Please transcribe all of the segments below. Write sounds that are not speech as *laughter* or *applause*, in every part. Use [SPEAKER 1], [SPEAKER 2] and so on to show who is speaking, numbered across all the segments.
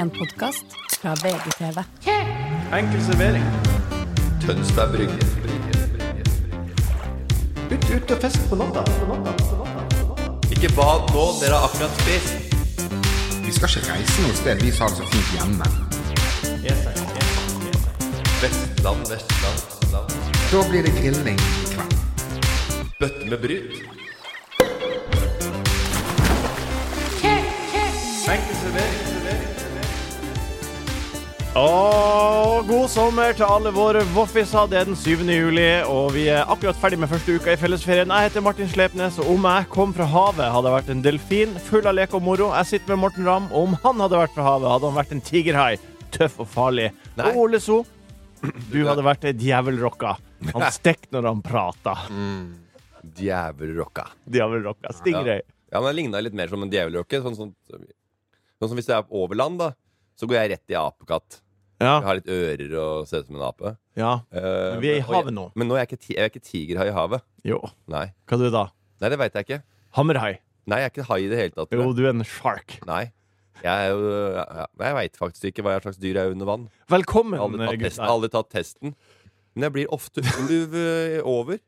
[SPEAKER 1] En podkast fra VGTV.
[SPEAKER 2] Enkel servering.
[SPEAKER 3] Tønsberg Brygge.
[SPEAKER 2] Ut, ut og fisk på natta. på natta, på natta.
[SPEAKER 3] Ikke bad nå, dere har akkurat spist.
[SPEAKER 4] Vi skal ikke reise noe sted vi har det så fint hjemme.
[SPEAKER 2] E6, E6, E6.
[SPEAKER 3] Vestland, Vestland, Vestland.
[SPEAKER 4] Da blir det grilling i kveld.
[SPEAKER 3] Bøtte med bryt.
[SPEAKER 2] Enkel servering. servering, servering. Og god sommer til alle våre voffiser. Det er den 7. juli, og vi er akkurat ferdig med første uka i fellesferien. Jeg heter Martin Slepnes, og om jeg kom fra havet, hadde jeg vært en delfin full av lek og moro. Jeg sitter med Morten Ramm, og om han hadde vært fra havet, hadde han vært en tigerhai. Tøff og farlig.
[SPEAKER 3] Nei.
[SPEAKER 2] Og Ole So, du hadde vært en djevelrocka. Han stekk når han prater.
[SPEAKER 3] Djævelrocka.
[SPEAKER 2] Djevelrocka. Stingrøy.
[SPEAKER 3] Ja, men jeg ligna litt mer som en djevelrocke. Sånn, som- sånn som hvis jeg er over land, da. Så går jeg rett i apekatt. Jeg
[SPEAKER 2] Ja.
[SPEAKER 3] har litt ører og ser ut som en ape.
[SPEAKER 2] ja.
[SPEAKER 3] Eh,
[SPEAKER 2] Men vi er i
[SPEAKER 3] og
[SPEAKER 2] havet
[SPEAKER 3] jeg-
[SPEAKER 2] nå.
[SPEAKER 3] Men nå er jeg ikke, ti- jeg er ikke tigerhai i havet.
[SPEAKER 2] Jo.
[SPEAKER 3] Nei.
[SPEAKER 2] Hva du da?
[SPEAKER 3] Nei, det veit jeg ikke.
[SPEAKER 2] Hammerhai.
[SPEAKER 3] Nei, jeg er ikke hai i det hele tatt. tror
[SPEAKER 2] Jo,
[SPEAKER 3] jeg.
[SPEAKER 2] du er en shark.
[SPEAKER 3] Nei. Jeg, er jo, ja, ja. jeg veit faktisk ikke hva slags dyr jeg er under vann.
[SPEAKER 2] Velkommen,
[SPEAKER 3] Jeg har Aldri tatt, testen,
[SPEAKER 2] Gunnar.
[SPEAKER 3] aldri tatt testen. Men jeg blir ofte ulv eh, over.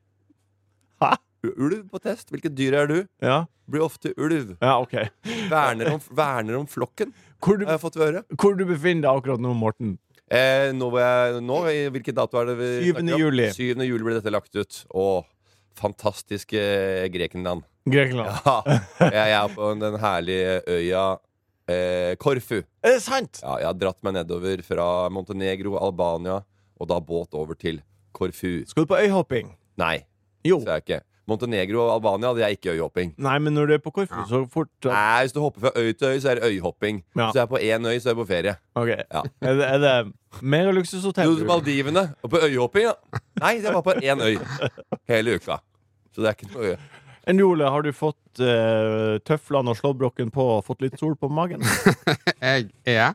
[SPEAKER 2] Hæ?
[SPEAKER 3] U- Ulv på test. Hvilket dyr er du?
[SPEAKER 2] Ja?
[SPEAKER 3] Blir ofte ulv.
[SPEAKER 2] ja, OK.
[SPEAKER 3] Verner om, verner om flokken,
[SPEAKER 2] Hvor du,
[SPEAKER 3] har jeg fått høre.
[SPEAKER 2] hvor du befinner deg akkurat nå, Morten?
[SPEAKER 3] Eh, nå, var jeg, nå, i Hvilken dato er det? vi
[SPEAKER 2] Syvende
[SPEAKER 3] snakker om?
[SPEAKER 2] juli.
[SPEAKER 3] Syvende juli ble dette lagt ut. Å, fantastiske Grekenland. *laughs*
[SPEAKER 2] Grekland.
[SPEAKER 3] Ja, jeg er på den herlige øya eh, Korfu.
[SPEAKER 2] Er det sant?
[SPEAKER 3] Ja, jeg har dratt meg nedover fra Montenegro, Albania, og da båt over til Korfu.
[SPEAKER 2] Skal du på øyhopping?
[SPEAKER 3] Nei,
[SPEAKER 2] Jo.
[SPEAKER 3] Så jeg ikke Montenegro og Albania det er ikke øyhopping.
[SPEAKER 2] Nei, men når du er på Korfu, så fort at-
[SPEAKER 3] Nei, Hvis du hopper fra øy til øy, så er det øyhopping.
[SPEAKER 2] Ja.
[SPEAKER 3] Hvis du er på én øy, så er du på ferie.
[SPEAKER 2] OK.
[SPEAKER 3] Ja.
[SPEAKER 2] Er det, er det megaluksushotell?
[SPEAKER 3] Du til Maldivene og på øyhopping, ja. Nei, det var på én øy hele uka. Så det er ikke noe øy.
[SPEAKER 2] Enn Ole, har du fått eh, tøflene og slåbroken på og fått litt sol på
[SPEAKER 3] *laughs*
[SPEAKER 2] magen?
[SPEAKER 4] Jeg er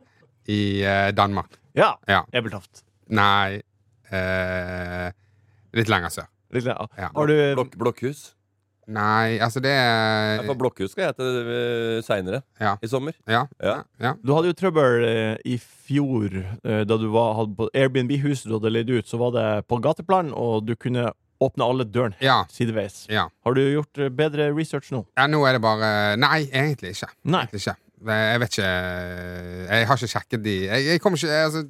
[SPEAKER 4] i eh, Danmark.
[SPEAKER 2] Ja.
[SPEAKER 4] Ja.
[SPEAKER 2] Ebeltoft.
[SPEAKER 4] Nei eh, Litt lenger sør.
[SPEAKER 2] Litt, ja.
[SPEAKER 4] Ja.
[SPEAKER 2] Har du
[SPEAKER 3] Blokk, blokkhus.
[SPEAKER 4] Nei, altså det er
[SPEAKER 3] Jeg får blokkhus skal jeg hete seinere
[SPEAKER 4] Ja.
[SPEAKER 3] i sommer.
[SPEAKER 4] Ja.
[SPEAKER 3] Ja.
[SPEAKER 4] ja.
[SPEAKER 2] Du hadde jo trøbbel eh, i fjor eh, da du var, hadde på Airbnb-huset du hadde leid ut. Så var det på gateplan, og du kunne åpne alle dørene
[SPEAKER 4] Ja.
[SPEAKER 2] sideveis.
[SPEAKER 4] ja.
[SPEAKER 2] Har du gjort eh, bedre research nå?
[SPEAKER 4] Ja, nå er det bare Nei, egentlig ikke.
[SPEAKER 2] Nei.
[SPEAKER 4] Egentlig ikke. Jeg vet ikke eh, Jeg har ikke sjekket de Jeg, jeg kommer ikke altså,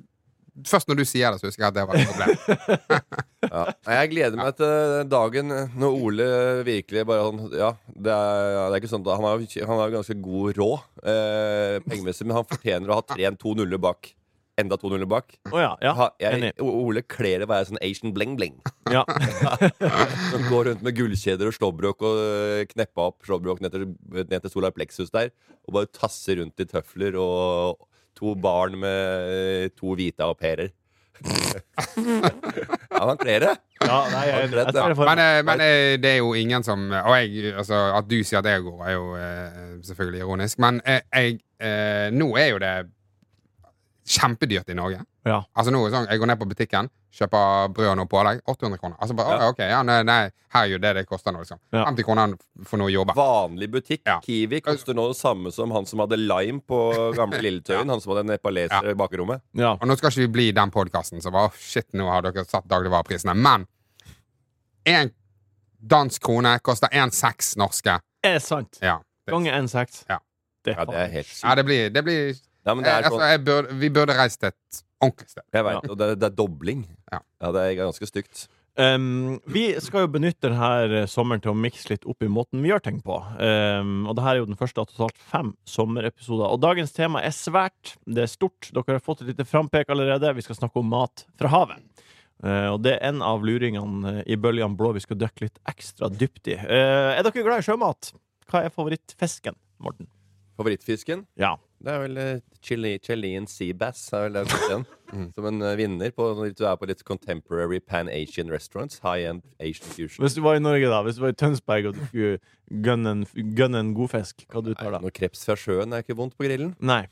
[SPEAKER 4] Først når du sier det, så husker jeg at det var et problem.
[SPEAKER 3] Ja. Nei, Jeg gleder meg til den dagen når Ole virkelig bare sånn Ja, det er, ja, det er ikke sånn at Han har jo- han har jo ganske god råd eh, pengemessig, men han fortjener å ha trent to nuller bak. Enda to nuller bak.
[SPEAKER 2] Å ja. ja.
[SPEAKER 3] Ha, jeg,
[SPEAKER 2] Enig.
[SPEAKER 3] O- Ole kler å være sånn Asian
[SPEAKER 2] *laughs*
[SPEAKER 3] bling-bling.
[SPEAKER 2] ja.
[SPEAKER 3] Som går rundt med gullkjeder og slåbrok og øh, kneppa opp slåbrok ned til, ned til Solar Plexus der. Og bare tasser rundt i tøfler og to barn med øh, to hvite au pairer. *laughs* ja, men han kler det.
[SPEAKER 2] ja nei, jeg, jeg,
[SPEAKER 3] Akkurat,
[SPEAKER 2] ser det for
[SPEAKER 4] Men,
[SPEAKER 2] meg.
[SPEAKER 4] eh, men eh, det er jo ingen som Og jeg, altså, at du sier at jeg går, er jo eh, selvfølgelig ironisk. Men eh, jeg, eh, nå er jo det kjempedyrt i Norge.
[SPEAKER 2] Ja.
[SPEAKER 4] Altså nå er det sånn, Jeg går ned på butikken, kjøper brød og noe pålegg. 800 kroner. Altså bare,
[SPEAKER 2] Ja.
[SPEAKER 4] «Å, ok, ja, nei, nei, Her er jo det det koster nå, liksom.
[SPEAKER 2] Ja.
[SPEAKER 4] 50 kroner for noe å jobbe.
[SPEAKER 3] Vanlig butikk.
[SPEAKER 4] Ja.
[SPEAKER 3] Kiwi koster nå det samme som han som hadde lime på gamle
[SPEAKER 4] *laughs*
[SPEAKER 3] Lilletøyen. Han som hadde nepaleser i eh, bakrommet.
[SPEAKER 2] ja.
[SPEAKER 4] Og nå skal ikke vi bli den podkasten som var «Åh, Shit, nå har dere satt dagligvareprisene. Men én dansk krone koster 1,6 norske.
[SPEAKER 2] Er det sant?
[SPEAKER 4] Ja. Det,
[SPEAKER 2] Ganger 1,6.
[SPEAKER 4] Ja.
[SPEAKER 2] Det,
[SPEAKER 3] Ja, det er helt
[SPEAKER 4] ja, det blir, det blir
[SPEAKER 3] Nei, men det er
[SPEAKER 4] altså,
[SPEAKER 3] sånn,
[SPEAKER 4] jeg burde, Vi burde reist til et ordentlig sted.
[SPEAKER 3] jeg vet, og det, det er dobling.
[SPEAKER 4] Ja.
[SPEAKER 3] Ja, det er ganske stygt.
[SPEAKER 2] Um, vi skal jo benytte denne sommeren til å mikse litt opp i måten vi gjør ting på. Um, og det her er jo den første av totalt fem sommerepisoder. Og dagens tema er svært. Det er stort. Dere har fått et lite frampek allerede. Vi skal snakke om mat fra havet. Uh, og det er en av luringene eh, i bølgene blå vi skal dykke litt ekstra dypt i. Uh, er dere glad i sjømat? Hva er favorittfisken, Morten?
[SPEAKER 3] Favorittfisken?
[SPEAKER 2] Ja.
[SPEAKER 3] Det er vel eh, chili, Chilean Seabass er vel det jeg har fått
[SPEAKER 4] *laughs*
[SPEAKER 3] igjen.
[SPEAKER 4] Mm.
[SPEAKER 3] Som en eh, vinner på når du er på litt contemporary pan-Asian restaurants. High-end Asian fusion.
[SPEAKER 2] Hvis du var i Norge, da. Hvis du var i Tønsberg og du skulle gønne en, gønne en god fisk, hva du tar da?
[SPEAKER 3] Noe kreps fra sjøen er ikke vondt på grillen.
[SPEAKER 2] Nei.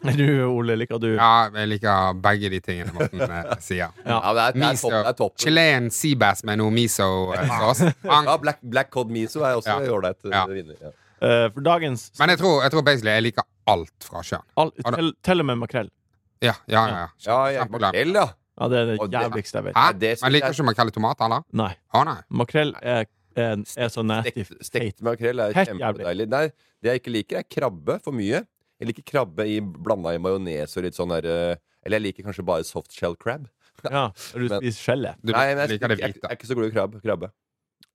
[SPEAKER 2] Du, Ole, liker du
[SPEAKER 4] Ja, jeg liker begge de tingene
[SPEAKER 3] *laughs*
[SPEAKER 4] Morten eh, sier.
[SPEAKER 2] Ja.
[SPEAKER 3] det er, det er,
[SPEAKER 4] Miso.
[SPEAKER 3] topp, det er topp.
[SPEAKER 4] Chilean seabass med noe eh, miso-saus.
[SPEAKER 3] *laughs* Ja, black, black cod miso er også
[SPEAKER 4] Ja.
[SPEAKER 3] ålreit ja.
[SPEAKER 4] Ja.
[SPEAKER 3] vinner. Ja.
[SPEAKER 2] Eh, for dagens
[SPEAKER 4] Men jeg tror, jeg tror basically jeg liker alt fra sjøen.
[SPEAKER 2] all,
[SPEAKER 4] Ah, da-
[SPEAKER 2] til, til og med makrell.
[SPEAKER 4] Ja, ja, ja. ja.
[SPEAKER 3] Ja, jeg,
[SPEAKER 4] Kjempeglad.
[SPEAKER 3] makrell, ja.
[SPEAKER 2] Ja, det er det
[SPEAKER 3] Og det-
[SPEAKER 2] jævligste jeg vet.
[SPEAKER 4] Hæ?
[SPEAKER 3] Nei, det synes
[SPEAKER 4] Man liker
[SPEAKER 3] jeg-
[SPEAKER 4] ikke makrell i tomat, eller?
[SPEAKER 2] Nei.
[SPEAKER 4] Å, nei.
[SPEAKER 2] Makrell er, er, er så nasty.
[SPEAKER 3] Stekt,
[SPEAKER 2] feit.
[SPEAKER 3] stekt makrell er
[SPEAKER 2] Helt jævlig.
[SPEAKER 3] kjempedeilig. Nei, det jeg ikke liker, er krabbe for mye. Jeg liker krabbe i, blanda i majones og litt sånn der eh, Eller jeg liker kanskje bare soft shell crab.
[SPEAKER 2] Ja, du
[SPEAKER 3] Men-
[SPEAKER 2] spiser skjellet.
[SPEAKER 4] Du
[SPEAKER 3] Nei, men jeg,
[SPEAKER 4] liker det
[SPEAKER 3] jeg, jeg,
[SPEAKER 4] hvite.
[SPEAKER 3] er ikke så glad i krabb, krabbe.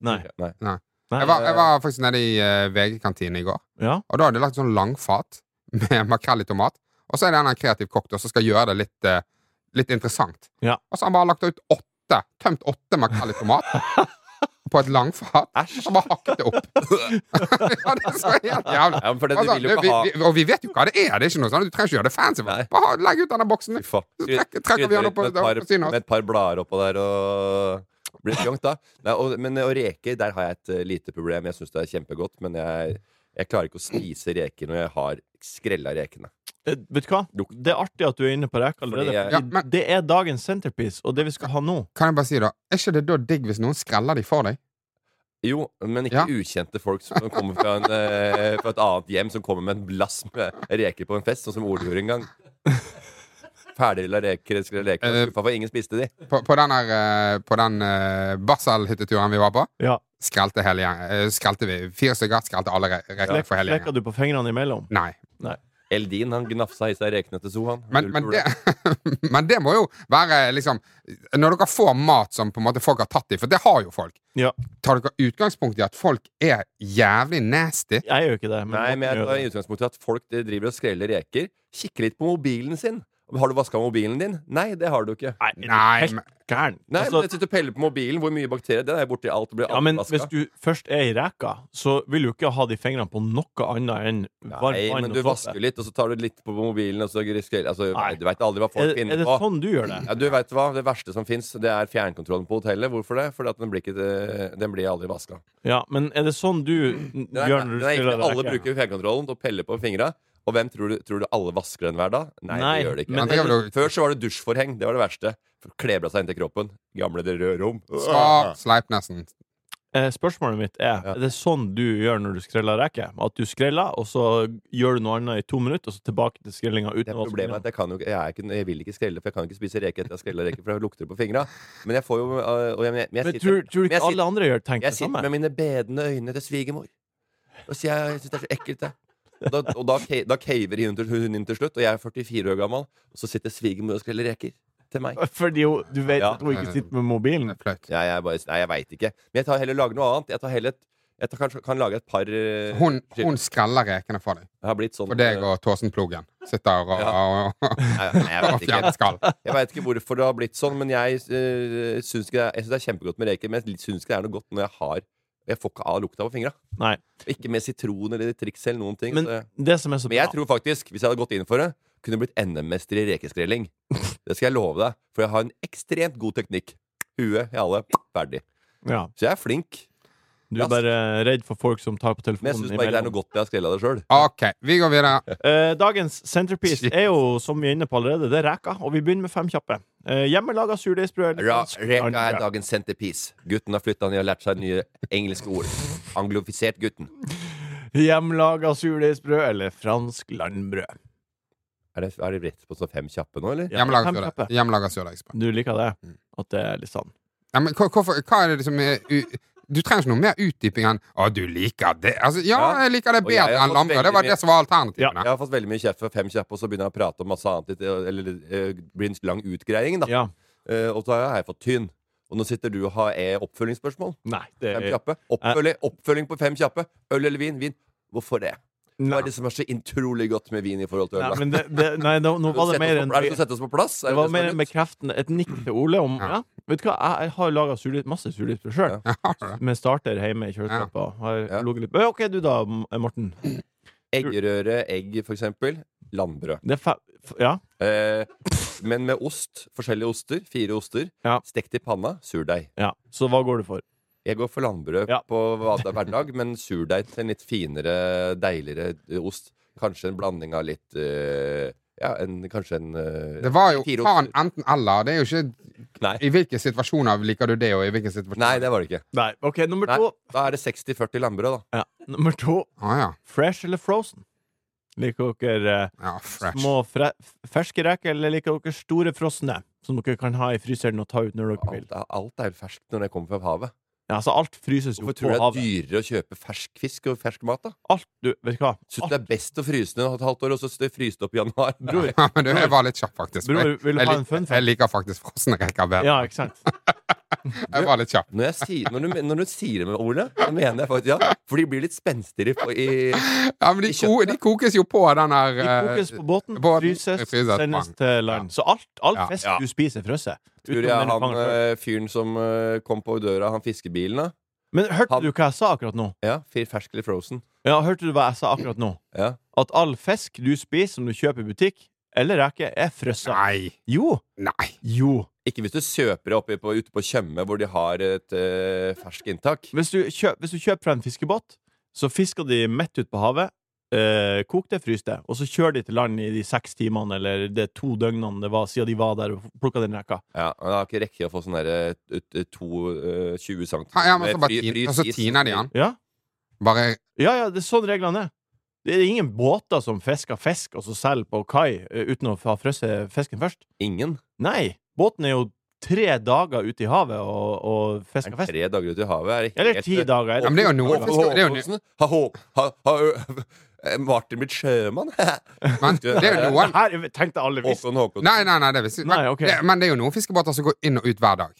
[SPEAKER 2] Nei.
[SPEAKER 3] Nei.
[SPEAKER 2] Nei.
[SPEAKER 4] Jeg var, jeg var faktisk nede i eh, VG-kantinen i går,
[SPEAKER 2] Ja.
[SPEAKER 4] og da hadde de lagt sånn langfat med makrell i tomat. Og så er det en kreativ kokk da, som skal gjøre det litt, eh, litt interessant.
[SPEAKER 2] Ja.
[SPEAKER 4] Og så har han bare lagt ut åtte, tømt åtte makrell i tomat
[SPEAKER 3] *laughs*
[SPEAKER 4] på et langfat. Og bare hakket det opp. ja, det er så helt jævlig.
[SPEAKER 3] Ja, men for det, du
[SPEAKER 4] Altså,
[SPEAKER 3] vil jo
[SPEAKER 4] vi,
[SPEAKER 3] ikke ha
[SPEAKER 4] vi, og vi vet jo hva det er. Det er ikke noe sånn, Du trenger ikke gjøre det fancy.
[SPEAKER 3] Nei.
[SPEAKER 4] Bare ha- legg ut denne boksen.
[SPEAKER 3] Fy faen.
[SPEAKER 4] Så
[SPEAKER 3] Skryt-
[SPEAKER 4] trekker- trekker vi han
[SPEAKER 3] skryter
[SPEAKER 4] opp på-
[SPEAKER 3] litt med et
[SPEAKER 4] på
[SPEAKER 3] par,
[SPEAKER 4] siden av oss.
[SPEAKER 3] Med et par blader oppå der og blir fjongt, da. Nei, og, men og reker, der har jeg et eh, lite problem. Jeg syns det er kjempegodt, men jeg, jeg klarer ikke å spise reker når jeg har skrella rekene.
[SPEAKER 2] Eh, Vet du hva? Det er artig at du er inne på reker allerede.
[SPEAKER 3] Fordi jeg-
[SPEAKER 2] fordi
[SPEAKER 4] Ja, men-
[SPEAKER 2] Det er dagens centerpiece, og det vi skal ha nå.
[SPEAKER 4] Kan jeg bare si da, Er ikke det da digg hvis noen skreller de for deg?
[SPEAKER 3] Jo, men ikke
[SPEAKER 4] Ja.
[SPEAKER 3] ukjente folk som kommer fra, en, eh, fra et annet hjem, som kommer med en blass med reker på en fest, sånn som Ole gjorde en gang. Ferdigrilla reker, skrella
[SPEAKER 4] Eh,
[SPEAKER 3] reker. Jeg var skuffa for ingen spiste de.
[SPEAKER 4] På, på den, her, eh, på den eh, barselhytteturen vi var på,
[SPEAKER 2] Ja.
[SPEAKER 4] skrelte hele gjengen. eh, Skrelte vi fire stykker, skrelte alle re- reker for hele
[SPEAKER 2] Sleker
[SPEAKER 4] gjengen.
[SPEAKER 2] du på fingrene imellom?
[SPEAKER 4] Nei.
[SPEAKER 3] Eldin han gnafsa i seg rekene til Sohan.
[SPEAKER 4] Men, men, det, men det *laughs* må jo være liksom Når dere får mat som på en måte folk har tatt i, for det har jo folk,
[SPEAKER 2] Ja.
[SPEAKER 4] tar dere utgangspunkt i at folk er jævlig nasty?
[SPEAKER 2] Jeg gjør ikke det.
[SPEAKER 3] Nei, men jeg
[SPEAKER 2] noen
[SPEAKER 3] tar
[SPEAKER 2] gjør
[SPEAKER 3] i
[SPEAKER 2] det.
[SPEAKER 3] utgangspunktet at folk eh, driver og skreller reker. Kikker litt på mobilen sin. Har du vaska mobilen din? Nei, det har du ikke.
[SPEAKER 2] Nei, er du
[SPEAKER 4] Nei,
[SPEAKER 2] helt
[SPEAKER 4] men-
[SPEAKER 2] gæren.
[SPEAKER 3] Nei,
[SPEAKER 2] Altså,
[SPEAKER 3] men jeg sitter og peller på mobilen. Hvor mye bakterier? Den er borti alt. Det blir
[SPEAKER 2] ja, men
[SPEAKER 3] alt
[SPEAKER 2] hvis
[SPEAKER 3] vasket.
[SPEAKER 2] du først er i reka, så vil du ikke ha de fingrene på noe annet enn varmt
[SPEAKER 3] Nei,
[SPEAKER 2] vann
[SPEAKER 3] men du
[SPEAKER 2] og
[SPEAKER 3] vasker
[SPEAKER 2] såpe.
[SPEAKER 3] litt, og så tar du litt på mobilen, og så skreller altså,
[SPEAKER 2] Nei.
[SPEAKER 3] Du veit aldri hva folk
[SPEAKER 2] Er, er
[SPEAKER 3] finner
[SPEAKER 2] det
[SPEAKER 3] på.
[SPEAKER 2] sånn du gjør det?
[SPEAKER 3] Ja, du vet hva, Det verste som fins, det er fjernkontrollen på hotellet. Hvorfor det? Fordi at den blir, ikke, eh, den blir aldri vaska.
[SPEAKER 2] Ja, men er det sånn du
[SPEAKER 3] Mm,
[SPEAKER 2] n- gjør når du stiller deg
[SPEAKER 3] Alle bruker fjernkontrollen til å pelle på fingra. Og hvem tror du, tror du alle vasker den hver dag? Nei,
[SPEAKER 2] Nei,
[SPEAKER 3] det gjør det ikke. Altså,
[SPEAKER 2] men-
[SPEAKER 4] Man tenker vel å-
[SPEAKER 3] Før så var det dusjforheng. Det var det verste. Klebra seg inntil kroppen. Gamle det røde rom.
[SPEAKER 4] Svar Sleipnesen.
[SPEAKER 2] Eh, spørsmålet mitt er
[SPEAKER 3] Ja.
[SPEAKER 2] Er det sånn du gjør når du skreller reker? At du skreller, og så gjør du noe annet i to minutter, og så tilbake til skrellinga
[SPEAKER 3] Det
[SPEAKER 2] uten
[SPEAKER 3] er
[SPEAKER 2] å vaske
[SPEAKER 3] problemet er at jeg, kan jo, ikke- jeg, er ikke, jeg vil ikke skrelle, for jeg kan ikke spise reke etter jeg har skrella reke, for jeg lukter det på fingra. Men jeg får jo øh, og jeg,
[SPEAKER 2] fingrene?
[SPEAKER 3] men jeg, jeg
[SPEAKER 2] Men
[SPEAKER 3] sitter,
[SPEAKER 2] tror, tror du
[SPEAKER 3] men jeg
[SPEAKER 2] ikke alle andre gjør tenker
[SPEAKER 3] jeg
[SPEAKER 2] det
[SPEAKER 3] sitter
[SPEAKER 2] samme?
[SPEAKER 3] med mine bedende øyne til svigermor. Og sier jeg, jeg syns det er så ekkelt, det. Og da, og da, ca- da caver hun til- hun inn til slutt, og jeg er 44 år gammel, og så sitter svigermor og skreller reker til meg.
[SPEAKER 2] *laughs* Fordi hun, du vet
[SPEAKER 3] Ja.
[SPEAKER 2] at hun ikke sitter med mobilen?
[SPEAKER 4] Det er flaut.
[SPEAKER 3] Ja, jeg bare, nei, jeg veit ikke. Men jeg tar heller lage noe annet. Jeg tar heller et jeg tar, kanskje, kan lage et par eh,
[SPEAKER 4] Hun, hun skreller rekene for deg.
[SPEAKER 3] Jeg har blitt sånn
[SPEAKER 4] For deg og Tåsenplogen sitter og,
[SPEAKER 3] Ja.
[SPEAKER 4] og, og,
[SPEAKER 3] Nei, nei, jeg
[SPEAKER 4] *laughs* og
[SPEAKER 3] vet ikke.
[SPEAKER 4] fjerner skall.
[SPEAKER 3] Jeg vet ikke hvorfor det har blitt sånn, men jeg uh, syns ikke det, er- jeg synes det er kjempegodt med reker. Men jeg syns ikke det er noe godt når jeg har Jeg får ikke av lukta på fingra. *laughs*
[SPEAKER 2] Nei.
[SPEAKER 3] Ikke med sitron eller triks eller noen ting.
[SPEAKER 2] Men
[SPEAKER 3] så jeg-
[SPEAKER 2] det som er så
[SPEAKER 3] Men
[SPEAKER 2] bra
[SPEAKER 3] jeg tror faktisk, hvis jeg hadde gått inn for det, kunne jeg blitt NM-mester i
[SPEAKER 2] *laughs*
[SPEAKER 3] rekeskrelling. Det skal jeg love deg, for jeg har en ekstremt god teknikk. Huet i alle. Ferdig.
[SPEAKER 2] ja,
[SPEAKER 3] Så jeg er flink.
[SPEAKER 2] Du er bare redd for folk som tar på
[SPEAKER 3] Men jeg
[SPEAKER 2] telefonen
[SPEAKER 3] syns bare ikke det er
[SPEAKER 2] imellom.
[SPEAKER 3] noe godt jeg har skrella det sjøl.
[SPEAKER 4] OK, vi går videre.
[SPEAKER 2] Eh, dagens centerpiece er jo, som vi er inne på allerede, det er reka. Og vi begynner med fem kjappe. Eh, hjemmelaga surdeigsbrød.
[SPEAKER 3] Reka er dagens centerpiece. Gutten har flytta ned og lært seg nye engelske ord. Anglofisert gutten.
[SPEAKER 2] Hjemmelaga surdeigsbrød eller fransk landbrød.
[SPEAKER 3] Er det, er det rett på sånn fem kjappe nå, eller?
[SPEAKER 2] Ja,
[SPEAKER 4] Hjemmelaga
[SPEAKER 2] fem
[SPEAKER 4] surdeigsbrød.
[SPEAKER 2] kjappe.
[SPEAKER 4] Hjemmelaga surdeigsbrød.
[SPEAKER 2] Du liker det?
[SPEAKER 3] Mm.
[SPEAKER 2] At det er litt sånn?
[SPEAKER 4] Ja, men hva- hvorfor- hva er det som er u- Du trenger ikke noe mer utdyping enn 'Å, du liker det'. Altså, ja,
[SPEAKER 3] Ja.
[SPEAKER 4] jeg liker det
[SPEAKER 3] Og jeg har
[SPEAKER 4] bedre enn
[SPEAKER 3] fått
[SPEAKER 4] lambrød. Det
[SPEAKER 3] veldig
[SPEAKER 4] var
[SPEAKER 3] mye-
[SPEAKER 4] det som var alternativene.
[SPEAKER 3] Jeg har fått veldig mye kjeft for fem kjappe, og så begynner jeg å prate om masse annet. litt, Eller eh, blir en lang utgreiing, da.
[SPEAKER 2] Ja.
[SPEAKER 3] Eh, og så har jeg fått tynn. Og nå sitter du og har eh, oppfølgingsspørsmål.
[SPEAKER 2] Nei, det
[SPEAKER 3] Fem
[SPEAKER 2] er
[SPEAKER 3] kjappe. Oppfølging, oppfølging på fem kjappe. Øl eller vin? Vin. Hvorfor det? Hva
[SPEAKER 2] Nei,
[SPEAKER 3] er det som er så utrolig godt med vin i forhold til øl?
[SPEAKER 2] nei,
[SPEAKER 3] da?
[SPEAKER 2] men det, det, nei nå, nå var
[SPEAKER 3] Er
[SPEAKER 2] det mer enn
[SPEAKER 3] det du skal sette oss på plass? Er
[SPEAKER 2] det var
[SPEAKER 3] som er
[SPEAKER 2] mer enn
[SPEAKER 3] nytt?
[SPEAKER 2] bekreftende. Et nikk til Ole om
[SPEAKER 4] Ja.
[SPEAKER 2] ja. Vet du hva, jeg, jeg har laga masse surdeig
[SPEAKER 3] *laughs*
[SPEAKER 2] sjøl.
[SPEAKER 4] Ja.
[SPEAKER 2] Med starter hjemme i kjøleskapet. og Har
[SPEAKER 3] Ja.
[SPEAKER 2] ligget litt Men OK, du da, Morten.
[SPEAKER 3] Eggerøre, egg, for eksempel. Landbrød.
[SPEAKER 2] Det er fe... f- Ja.
[SPEAKER 3] Eh, men med ost. Forskjellige oster. Fire oster.
[SPEAKER 2] Ja.
[SPEAKER 3] Stekt i panna. Surdeig.
[SPEAKER 2] ja. Så hva går du for?
[SPEAKER 3] Jeg går for landbrød
[SPEAKER 2] Ja.
[SPEAKER 3] på hva det er hverdag, men surdeig til en litt finere, deiligere eh, ost. Kanskje en blanding av litt eh, Ja, en, kanskje en eh,
[SPEAKER 4] Det var jo
[SPEAKER 3] fire
[SPEAKER 4] faen
[SPEAKER 3] oster.
[SPEAKER 4] enten eller. Det er jo ikke nok.
[SPEAKER 3] Nei.
[SPEAKER 4] I hvilke situasjoner liker du det, og i hvilke situasjoner
[SPEAKER 3] Nei, det var det ikke.
[SPEAKER 2] Nei. OK, nummer
[SPEAKER 3] Nei,
[SPEAKER 2] to.
[SPEAKER 3] Da er det 60-40 landbrød, da.
[SPEAKER 2] Ja. Nummer to.
[SPEAKER 4] ah, ja.
[SPEAKER 2] Fresh eller frozen? Liker dere eh,
[SPEAKER 4] ja, fresh.
[SPEAKER 2] små fre ferske reker, eller liker dere store frosne? Som dere kan ha i fryseren og ta ut når dere vil.
[SPEAKER 3] Alt er, alt er ferskt når det kommer fra havet.
[SPEAKER 2] Ja, altså alt fryses jo
[SPEAKER 3] Hvorfor
[SPEAKER 2] på
[SPEAKER 3] tror du det er
[SPEAKER 2] havet.
[SPEAKER 3] dyrere å kjøpe fersk fisk og fersk mat, da?
[SPEAKER 2] Alt, du, vet du hva?
[SPEAKER 3] Syns du
[SPEAKER 2] Alt,
[SPEAKER 3] det er best å fryse ned et halvt år, og så st- fryse det opp i januar?
[SPEAKER 2] bror,
[SPEAKER 4] *laughs* Ja, men du, jeg var litt kjapp, faktisk.
[SPEAKER 2] bror,
[SPEAKER 4] jeg,
[SPEAKER 2] vil du
[SPEAKER 4] jeg,
[SPEAKER 2] ha en fun
[SPEAKER 4] lik- jeg
[SPEAKER 2] fact?
[SPEAKER 4] liker faktisk frosne reker bedre.
[SPEAKER 2] Ja, ikke sant?
[SPEAKER 4] Jeg var litt kjapp.
[SPEAKER 3] Når, jeg sier, når, du, når du sier det med ordene, så mener jeg faktisk ja. For de blir litt spenstigere på- i
[SPEAKER 4] Ja, men de,
[SPEAKER 3] I
[SPEAKER 4] ko,
[SPEAKER 3] kjøttet.
[SPEAKER 4] de kokes jo på den
[SPEAKER 3] *laughs*
[SPEAKER 4] eh, der
[SPEAKER 2] De kokes på båten,
[SPEAKER 4] båten,
[SPEAKER 2] fryses,
[SPEAKER 4] fryses,
[SPEAKER 2] sendes
[SPEAKER 4] bang.
[SPEAKER 2] til land. Så alt, all
[SPEAKER 4] Ja.
[SPEAKER 2] fisk
[SPEAKER 3] Ja.
[SPEAKER 2] du spiser, er frosset.
[SPEAKER 3] Tror
[SPEAKER 2] Utenom
[SPEAKER 3] jeg
[SPEAKER 2] den du
[SPEAKER 3] han
[SPEAKER 2] fanger selv.
[SPEAKER 3] eh, fyren som eh, kom på døra, han fiskebilen, da?
[SPEAKER 2] Men hørte
[SPEAKER 3] han-
[SPEAKER 2] du hva jeg sa akkurat nå?
[SPEAKER 3] Ja, fyr fersk eller frozen.
[SPEAKER 2] Ja, hørte du hva jeg sa akkurat nå?
[SPEAKER 3] Ja.
[SPEAKER 2] At all fisk du spiser som du kjøper i butikk, eller reker, er frosset.
[SPEAKER 4] Nei.
[SPEAKER 2] Jo!
[SPEAKER 4] Nei.
[SPEAKER 2] Jo.
[SPEAKER 3] Ikke hvis du kjøper det oppe på, ute på Tjøme, hvor de har et eh, fersk inntak.
[SPEAKER 2] Hvis du, kjøp, hvis du kjøper fra en fiskebåt, så fisker de midt ut på havet. Eh, Kok det, frys det, og så kjører de til land i de seks timene eller de to døgnene det var siden de var der og plukka den reka.
[SPEAKER 3] Ja, men Det har ikke rekke å få sånn derre ut- ut- to, eh, 20 cm
[SPEAKER 4] Ja, ja, men så bare altså, tin- og så tiner de han.
[SPEAKER 2] Ja,
[SPEAKER 4] Bare
[SPEAKER 2] ja, ja det er sånn reglene er. Det er ingen båter som fisker fisk og så selger på kai eh, uten å ha frosset fisken først.
[SPEAKER 3] Ingen.
[SPEAKER 2] Nei! Båten er jo tre dager ute i havet og, og
[SPEAKER 3] Er
[SPEAKER 2] fisker
[SPEAKER 3] det
[SPEAKER 2] fisk.
[SPEAKER 3] Tre dager ute i havet er det
[SPEAKER 2] Eller
[SPEAKER 3] helt- eh,
[SPEAKER 2] ti dager.
[SPEAKER 4] Ja, men det er jo noe
[SPEAKER 3] Håkon
[SPEAKER 4] fisk- det er jo
[SPEAKER 3] Håkonsen? Ha- Hå- ha- ha- eh, *laughs* Martin blitt sjømann? *laughs*
[SPEAKER 2] *laughs*
[SPEAKER 4] Men det er jo noen
[SPEAKER 2] Her tenkte alle visst.
[SPEAKER 3] Håkon Håkonsen.
[SPEAKER 4] Nei, nei, nei, det visste jeg
[SPEAKER 2] Nei,
[SPEAKER 4] men,
[SPEAKER 2] ok.
[SPEAKER 4] det- men det er jo noen fiskebåter som går inn og ut hver dag.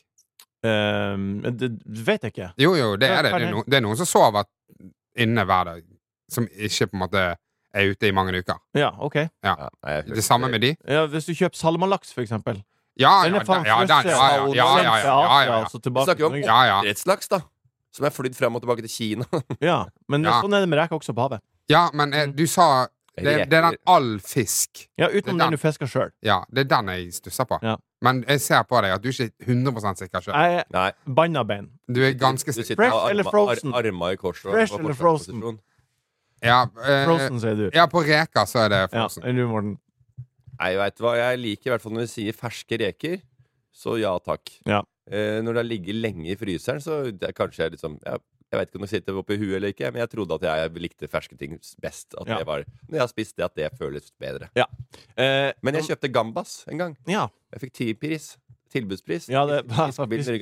[SPEAKER 2] Um, det det vet jeg ikke.
[SPEAKER 4] Jo, jo, det
[SPEAKER 2] Ja,
[SPEAKER 4] er det. Det er,
[SPEAKER 2] ferdig.
[SPEAKER 4] no, det er noen som sover inne hver dag, som ikke på en måte er ute i mange uker.
[SPEAKER 2] Ja, OK.
[SPEAKER 3] Ja, nei, jeg-
[SPEAKER 4] Det samme med de.
[SPEAKER 2] Ja, hvis du kjøper salmalaks, for eksempel.
[SPEAKER 4] Ja,
[SPEAKER 2] Den
[SPEAKER 4] ja,
[SPEAKER 2] er
[SPEAKER 4] da-
[SPEAKER 2] faen
[SPEAKER 4] ja,
[SPEAKER 2] frosset.
[SPEAKER 4] da- ja, ja, ja, ja, ja, ja, ja, ja.
[SPEAKER 2] Altså tilbake
[SPEAKER 3] Vi snakker
[SPEAKER 2] til
[SPEAKER 3] om-
[SPEAKER 2] Norge.
[SPEAKER 4] Ja, ja.
[SPEAKER 3] Oppdrettslaks, da. Som er flydd frem og tilbake til Kina. *laughs*
[SPEAKER 2] Ja, men
[SPEAKER 4] Ja.
[SPEAKER 2] sånn er det med reker også på havet.
[SPEAKER 4] ja, men eh,
[SPEAKER 2] Mm.
[SPEAKER 4] du sa det, det er den all fisk.
[SPEAKER 2] Ja, Utenom
[SPEAKER 4] Det er
[SPEAKER 2] den du fisker sjøl.
[SPEAKER 4] Ja, det er den jeg stusser på.
[SPEAKER 2] Ja.
[SPEAKER 4] Men jeg ser på deg at du er ikke er 100 sikker selv.
[SPEAKER 2] Jeg er
[SPEAKER 3] Nei.
[SPEAKER 2] bannabein.
[SPEAKER 4] Du er ganske
[SPEAKER 3] Du
[SPEAKER 4] sikker.
[SPEAKER 3] sitter med
[SPEAKER 2] Fresh eller
[SPEAKER 3] arma-
[SPEAKER 2] frozen?
[SPEAKER 3] Ar arma i kors. og-
[SPEAKER 2] Fresh
[SPEAKER 3] og
[SPEAKER 2] eller
[SPEAKER 3] forsvarsposisjon.
[SPEAKER 4] Ja, eh,
[SPEAKER 2] Frozen, sier du.
[SPEAKER 4] ja, på reker så er det
[SPEAKER 2] Ja,
[SPEAKER 4] frossen.
[SPEAKER 2] eller du, Morten.
[SPEAKER 3] Nei, vet du hva? Jeg liker i hvert fall når vi sier ferske reker. Så ja takk.
[SPEAKER 2] Ja.
[SPEAKER 3] Eh, når det har ligget lenge i fryseren, så det er kanskje jeg liksom jeg, jeg vet ikke om det sitter oppi huet eller ikke, men jeg trodde at jeg likte ferske ting best. At
[SPEAKER 2] Ja.
[SPEAKER 3] det var, når jeg har spist det, at det føles bedre.
[SPEAKER 2] Eh,
[SPEAKER 3] Men jeg kjøpte gambas en gang.
[SPEAKER 2] ja,
[SPEAKER 3] Jeg fikk tipris. Tilbudspris.
[SPEAKER 2] ja, *laughs*
[SPEAKER 4] *laughs*
[SPEAKER 2] det
[SPEAKER 3] I fiskebilen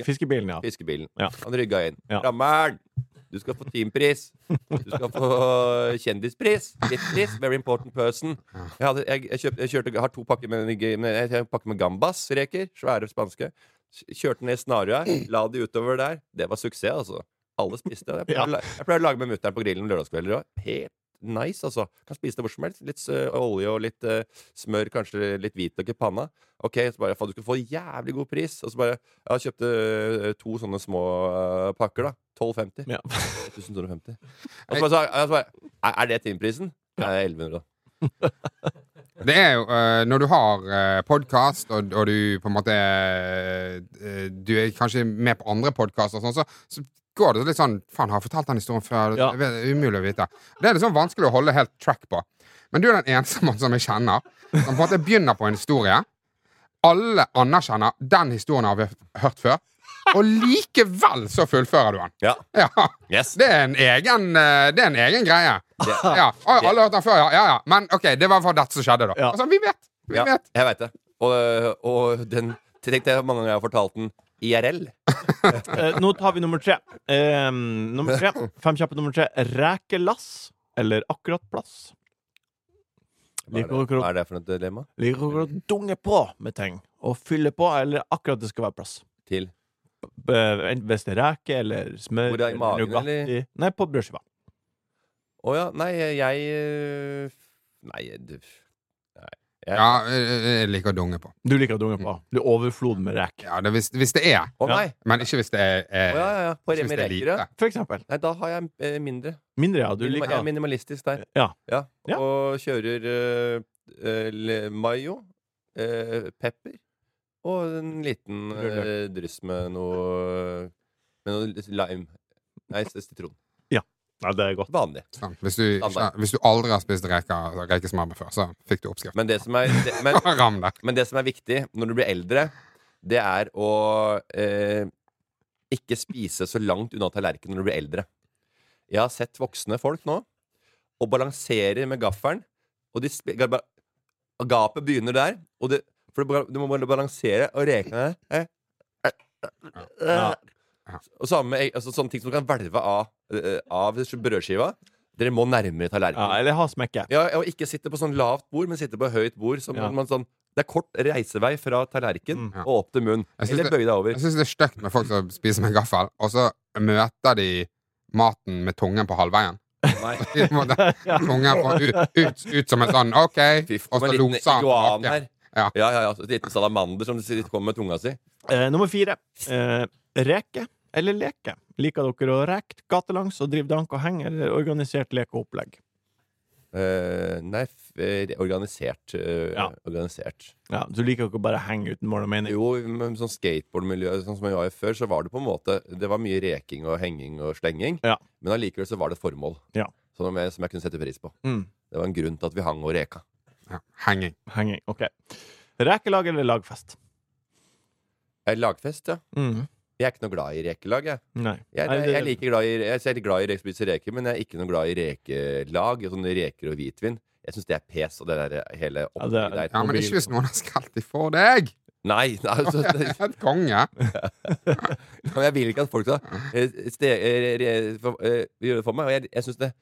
[SPEAKER 2] fisk,
[SPEAKER 3] rygga.
[SPEAKER 2] Fiskebilen, ja.
[SPEAKER 3] Fiskebilen.
[SPEAKER 2] Ja.
[SPEAKER 3] Han rygga inn.
[SPEAKER 2] Ja.
[SPEAKER 3] Rammeren! Du skal få teampris. Du skal få kjendispris. Gittpris. Very important person. Jeg, hadde, jeg, jeg, kjøpte, jeg kjørte, jeg har to pakker med, med, jeg har en pakke med gambas-reker. Svære spanske. Kjørte ned Snarøya. La de utover der. Det var suksess, altså. Alle spiste det. Jeg pleier,
[SPEAKER 2] Ja.
[SPEAKER 3] å la- jeg pleier å lage med mutter'n på grillen lørdagskvelder òg. Helt nice, altså. Kan spise det hvor som helst. Litt eh, olje og litt eh, smør, kanskje litt hvitløk i panna. Ok, så bare, faen, du skal få jævlig god pris. Og så bare, jeg kjøpte eh, to sånne små eh, pakker, da. 1250.
[SPEAKER 2] Ja.
[SPEAKER 3] 1250. Og så bare, sa jeg- og så bare "Er- Er det timeprisen? Ja. Nei, 1100, da.
[SPEAKER 4] Det er jo eh, når du har uh, podkast, og, og du på en måte eh, Du er kanskje med på andre podkaster, sånn, så, så går det litt sånn Faen, har jeg fortalt den historien før?
[SPEAKER 2] Ja.
[SPEAKER 4] Jeg vet- Det er umulig å vite. Det er liksom vanskelig å holde helt track på. Men du er den eneste mannen som jeg kjenner, som på en måte begynner på en historie. Alle anerkjenner 'den historien har vi hørt før', og likevel så fullfører du den.
[SPEAKER 3] Ja.
[SPEAKER 4] Ja.
[SPEAKER 3] Yes.
[SPEAKER 4] Det er en egen, eh, det er en egen greie. *laughs* Ja. Oi, alle har hørt den før, ja. ja, ja. Men ok, det var for dette som skjedde, da.
[SPEAKER 2] Ja.
[SPEAKER 4] Altså, vi vet. Vi
[SPEAKER 3] Ja,
[SPEAKER 4] vet.
[SPEAKER 3] jeg veit det. Og, eh, og den Tenk deg hvor mange ganger jeg har fortalt den IRL.
[SPEAKER 2] Eh, nå tar vi nummer tre. Eh, nummer
[SPEAKER 4] *laughs*
[SPEAKER 2] tre. Fem kjappe nummer tre. Rekelass eller akkurat plass?
[SPEAKER 3] Hva er,
[SPEAKER 2] Liker
[SPEAKER 3] det,
[SPEAKER 2] dere å
[SPEAKER 3] hva er det for et dilemma?
[SPEAKER 2] Liker dere å dunge på med ting og fylle på, eller akkurat det skal være plass?
[SPEAKER 3] Til
[SPEAKER 2] B- Eh, enten Hvis det er reke eller smør
[SPEAKER 3] Hvor er det i magen,
[SPEAKER 2] Nugatti.
[SPEAKER 3] eller?
[SPEAKER 2] Nei, på brødskiva.
[SPEAKER 3] Å ja. Nei, jeg øh, Nei, du Nei. Jeg,
[SPEAKER 4] Ja, eh, jeg liker å dunge på.
[SPEAKER 2] Du liker å dunge på. Du er overflod med rek.
[SPEAKER 4] Ja, det, hvis, hvis det er.
[SPEAKER 3] Å nei!
[SPEAKER 4] Men ikke hvis det er
[SPEAKER 3] Å
[SPEAKER 4] eh,
[SPEAKER 3] ja, ja, ja. På
[SPEAKER 4] ikke hvis
[SPEAKER 3] Remi
[SPEAKER 4] det er
[SPEAKER 3] Reker, ja.
[SPEAKER 4] lite.
[SPEAKER 2] For eksempel.
[SPEAKER 3] Nei, da har jeg eh, mindre.
[SPEAKER 2] Mindre, ja. Du
[SPEAKER 3] Minima- Jeg er
[SPEAKER 2] liker
[SPEAKER 3] minimalistisk der.
[SPEAKER 2] Ja. Ja.
[SPEAKER 3] Og kjører eh, eh, le- mayo, eh, pepper og en liten eh, dryss med noe Med noe litt lime. Nei, s- sitron.
[SPEAKER 2] Nei, det er godt.
[SPEAKER 3] Vanlig.
[SPEAKER 4] Sånn. Hvis, du, ikke- hvis du aldri har spist reker, altså, rekesmørbrød før, så fikk du oppskrift.
[SPEAKER 3] Men det som er det, men,
[SPEAKER 4] *laughs* Ram det.
[SPEAKER 3] men det som er viktig når du blir eldre, det er å eh, ikke spise så langt unna tallerkenen når du blir eldre. Jeg har sett voksne folk nå og balanserer med gaffelen, og de spi- ga- ba- gapet begynner der. Og det, for du, ba- du må bare balansere og reke eh, eh, eh, eh. Og samme med egg- altså, sånne ting som du kan hvelve av, eh, av brødskiva. Dere må nærmere
[SPEAKER 2] Ja,
[SPEAKER 3] tallerkenen.
[SPEAKER 2] eller ha smekke.
[SPEAKER 3] Ja, og ikke sitte på sånn lavt bord, men sitte på høyt bord. Som
[SPEAKER 2] Ja.
[SPEAKER 3] man sånn, det er kort reisevei fra tallerken
[SPEAKER 4] Mm. Ja.
[SPEAKER 3] og opp til munn.
[SPEAKER 4] Jeg synes
[SPEAKER 3] Eller
[SPEAKER 4] det-
[SPEAKER 3] bøy deg over.
[SPEAKER 4] Jeg syns det er stygt med folk som spiser med gaffel, og så møter de maten med tungen på halvveien. *laughs*
[SPEAKER 3] Nei.
[SPEAKER 4] De må
[SPEAKER 3] *laughs*
[SPEAKER 4] da- Tungen på, ut, ut, ut som en sånn OK,
[SPEAKER 3] Fy faen,
[SPEAKER 4] og så
[SPEAKER 3] en liten
[SPEAKER 4] loser han
[SPEAKER 3] iguan
[SPEAKER 4] tilbake.
[SPEAKER 3] her.
[SPEAKER 4] Ja.
[SPEAKER 3] Ja, ja, ja. En liten salamander som sitter- kommer med tunga si.
[SPEAKER 2] Eh, nummer fire. Eh, reke eller leke. Liker dere å reke gatelangs og drive dank og henge, eller organisert leke og opplegg?
[SPEAKER 3] Eh, nei, f eh, organisert. eh,
[SPEAKER 2] Ja.
[SPEAKER 3] organisert.
[SPEAKER 2] Ja, Du liker ikke å bare henge uten mål og mening?
[SPEAKER 3] Jo, men sånn skateboardmiljø sånn som jeg var i før, så var det på en måte Det var mye reking og henging og slenging,
[SPEAKER 2] Ja.
[SPEAKER 3] men allikevel så var det formål. Sånn
[SPEAKER 2] Ja.
[SPEAKER 3] Som jeg, som jeg kunne sette pris på.
[SPEAKER 2] Mm.
[SPEAKER 3] Det var en grunn til at vi hang og reka.
[SPEAKER 4] Ja, henging.
[SPEAKER 2] Henging. OK. Rekelag eller lagfest?
[SPEAKER 3] Eh, Lagfest, ja.
[SPEAKER 2] Mm.
[SPEAKER 3] Jeg er ikke noe glad i rekelag, jeg.
[SPEAKER 2] Nei.
[SPEAKER 3] Jeg,
[SPEAKER 2] Nei,
[SPEAKER 3] jeg,
[SPEAKER 2] det-
[SPEAKER 3] jeg, er like glad i, jeg er litt glad i å spise reker, men jeg er ikke noe glad i rekelag. Sånne reker og hvitvin. Jeg syns det er pes og det der eh, hele
[SPEAKER 2] Ja,
[SPEAKER 3] opplegget
[SPEAKER 2] det er-
[SPEAKER 3] der.
[SPEAKER 4] Ja, men ikke hvis
[SPEAKER 3] sånn.
[SPEAKER 4] noen har skrelt de for deg!
[SPEAKER 3] Nei, nei altså, det-
[SPEAKER 4] Et konge.
[SPEAKER 3] men jeg vil ikke at folk skal eh, ste, eh, re- for- eh, gjøre det for meg. Og jeg, jeg syns det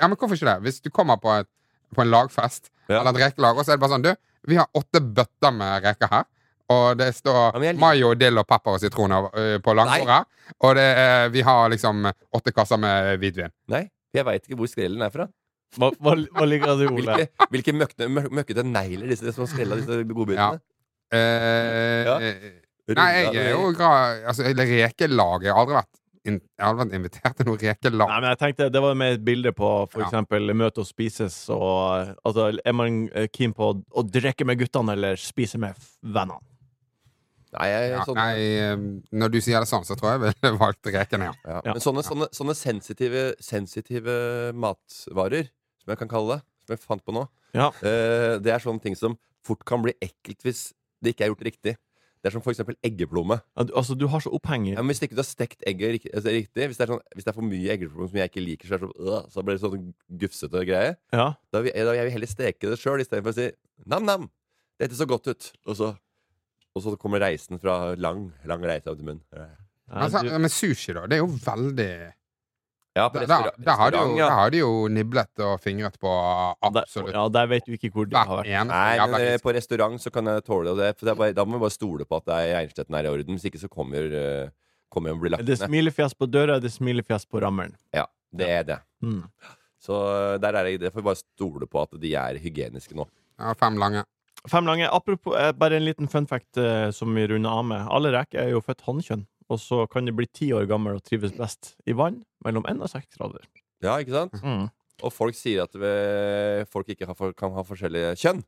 [SPEAKER 4] Ja, men hvorfor ikke det? Hvis du kommer på, et, på en lagfest
[SPEAKER 3] Ja.
[SPEAKER 4] eller et rekelag, og så er det bare sånn Du, vi har åtte bøtter med reker her. Og det står
[SPEAKER 3] Ja, men jeg liker-
[SPEAKER 4] mayo, dill og pepper og sitroner ø, på langbordet. Og det er, vi har liksom åtte kasser med hvitvin.
[SPEAKER 3] Nei, jeg veit ikke hvor skrellen er fra.
[SPEAKER 2] Hva, hva, hva liker du, Ole?
[SPEAKER 3] Hvilke, hvilke møkne, mø- møkkete negler disse som har skrella disse
[SPEAKER 4] Ja.
[SPEAKER 3] godbitene.
[SPEAKER 4] Eh,
[SPEAKER 3] Ja.
[SPEAKER 4] eh, Nei, jeg er jo glad Altså, eller rekelag Jeg har aldri vært, in, jeg har aldri vært invitert til noe rekelag.
[SPEAKER 2] Nei, men jeg tenkte Det var med et bilde på for
[SPEAKER 4] Ja.
[SPEAKER 2] eksempel møte og spises. Og, altså, er man eh, keen på å, å drikke med guttene eller spise med f- vennene?
[SPEAKER 3] Nei, jeg,
[SPEAKER 4] Ja,
[SPEAKER 3] sånn,
[SPEAKER 4] nei, eh, når du sier det sånn, så tror jeg jeg ville *laughs* valgt rekene, ja.
[SPEAKER 3] Ja. Men sånne, sånne, sånne sensitive, sensitive matvarer, som jeg kan kalle det, som jeg fant på nå,
[SPEAKER 2] Ja.
[SPEAKER 3] eh, det er sånne ting som fort kan bli ekkelt hvis det ikke er gjort riktig. Det er som for eksempel eggeplomme.
[SPEAKER 2] Ja, du- Altså, du har så oppheng i
[SPEAKER 3] Ja, men hvis ikke du har stekt egget rik- altså, riktig, hvis det, er sånn, hvis det er for mye eggeplomme som jeg ikke liker, så, er det sånn, øh, så blir det sånn gufsete greie.
[SPEAKER 2] Ja.
[SPEAKER 3] Da vil, da vil jeg heller steke det sjøl istedenfor å si nam-nam. Dette så godt ut. Og så, og så kommer reisen fra lang, lang reise av til munn.
[SPEAKER 2] Ja,
[SPEAKER 4] Men, så,
[SPEAKER 2] du,
[SPEAKER 4] Altså, men sushi, da. Det er jo veldig
[SPEAKER 3] Ja, på
[SPEAKER 4] Der, der,
[SPEAKER 3] restaurant-
[SPEAKER 4] der, har de jo,
[SPEAKER 3] restaurant, ja.
[SPEAKER 4] der har de jo niblet og fingret på
[SPEAKER 2] der,
[SPEAKER 4] absolutt
[SPEAKER 2] ja, der vet du ikke hvor du har
[SPEAKER 4] hver
[SPEAKER 2] vært.
[SPEAKER 4] eneste
[SPEAKER 3] Nei,
[SPEAKER 4] jævla
[SPEAKER 3] men eh,
[SPEAKER 4] fisk.
[SPEAKER 3] på restaurant så kan jeg tåle det. For det er bare, da må vi bare stole på at det er Einstein er i orden. Hvis ikke så kommer eh, Kommer jeg å bli lagt
[SPEAKER 2] Det er
[SPEAKER 3] ned.
[SPEAKER 2] smilefjes på døra, det er smilefjes på rammeren.
[SPEAKER 3] Ja, det er det.
[SPEAKER 2] Mm.
[SPEAKER 3] Så eh, der er jeg, det får vi bare stole på at de er hygieniske nå.
[SPEAKER 4] Ja, fem lange.
[SPEAKER 2] Fem lange. Apropos, eh, bare en liten fun fact eh, som vi runder av med. Alle reker er jo født hannkjønn, og så kan de bli ti år gammel og trives best i vann mellom én og seks grader.
[SPEAKER 3] Ja, ikke sant? Og folk sier at vi, folk ikke har, for- kan ha forskjellige kjønn.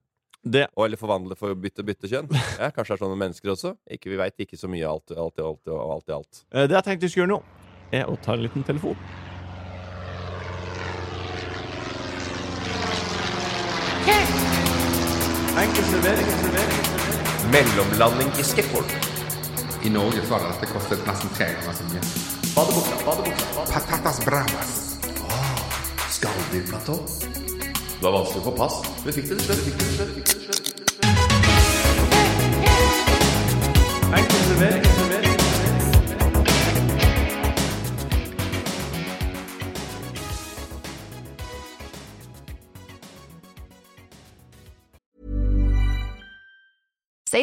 [SPEAKER 2] Det
[SPEAKER 3] Og eller forvandle for å bytte bytte kjønn. Ja, kanskje det er sånne mennesker også. Ikke, vi veit ikke så mye alt, alt, alt, alt, alt, alt.
[SPEAKER 2] Eh, Det jeg tenkte vi skulle gjøre nå, er å ta en liten telefon.
[SPEAKER 3] Mellomlanding i skateboard.
[SPEAKER 4] I Norge så hadde dette kostet nesten tre ganger så mye. Patatas bravas.
[SPEAKER 5] Skalldyrblatå. Det var vanskelig å få pass. Vi fikk det til slutt. fikk det til slutt, fikk det til slutt, fikk det til slutt.
[SPEAKER 6] Say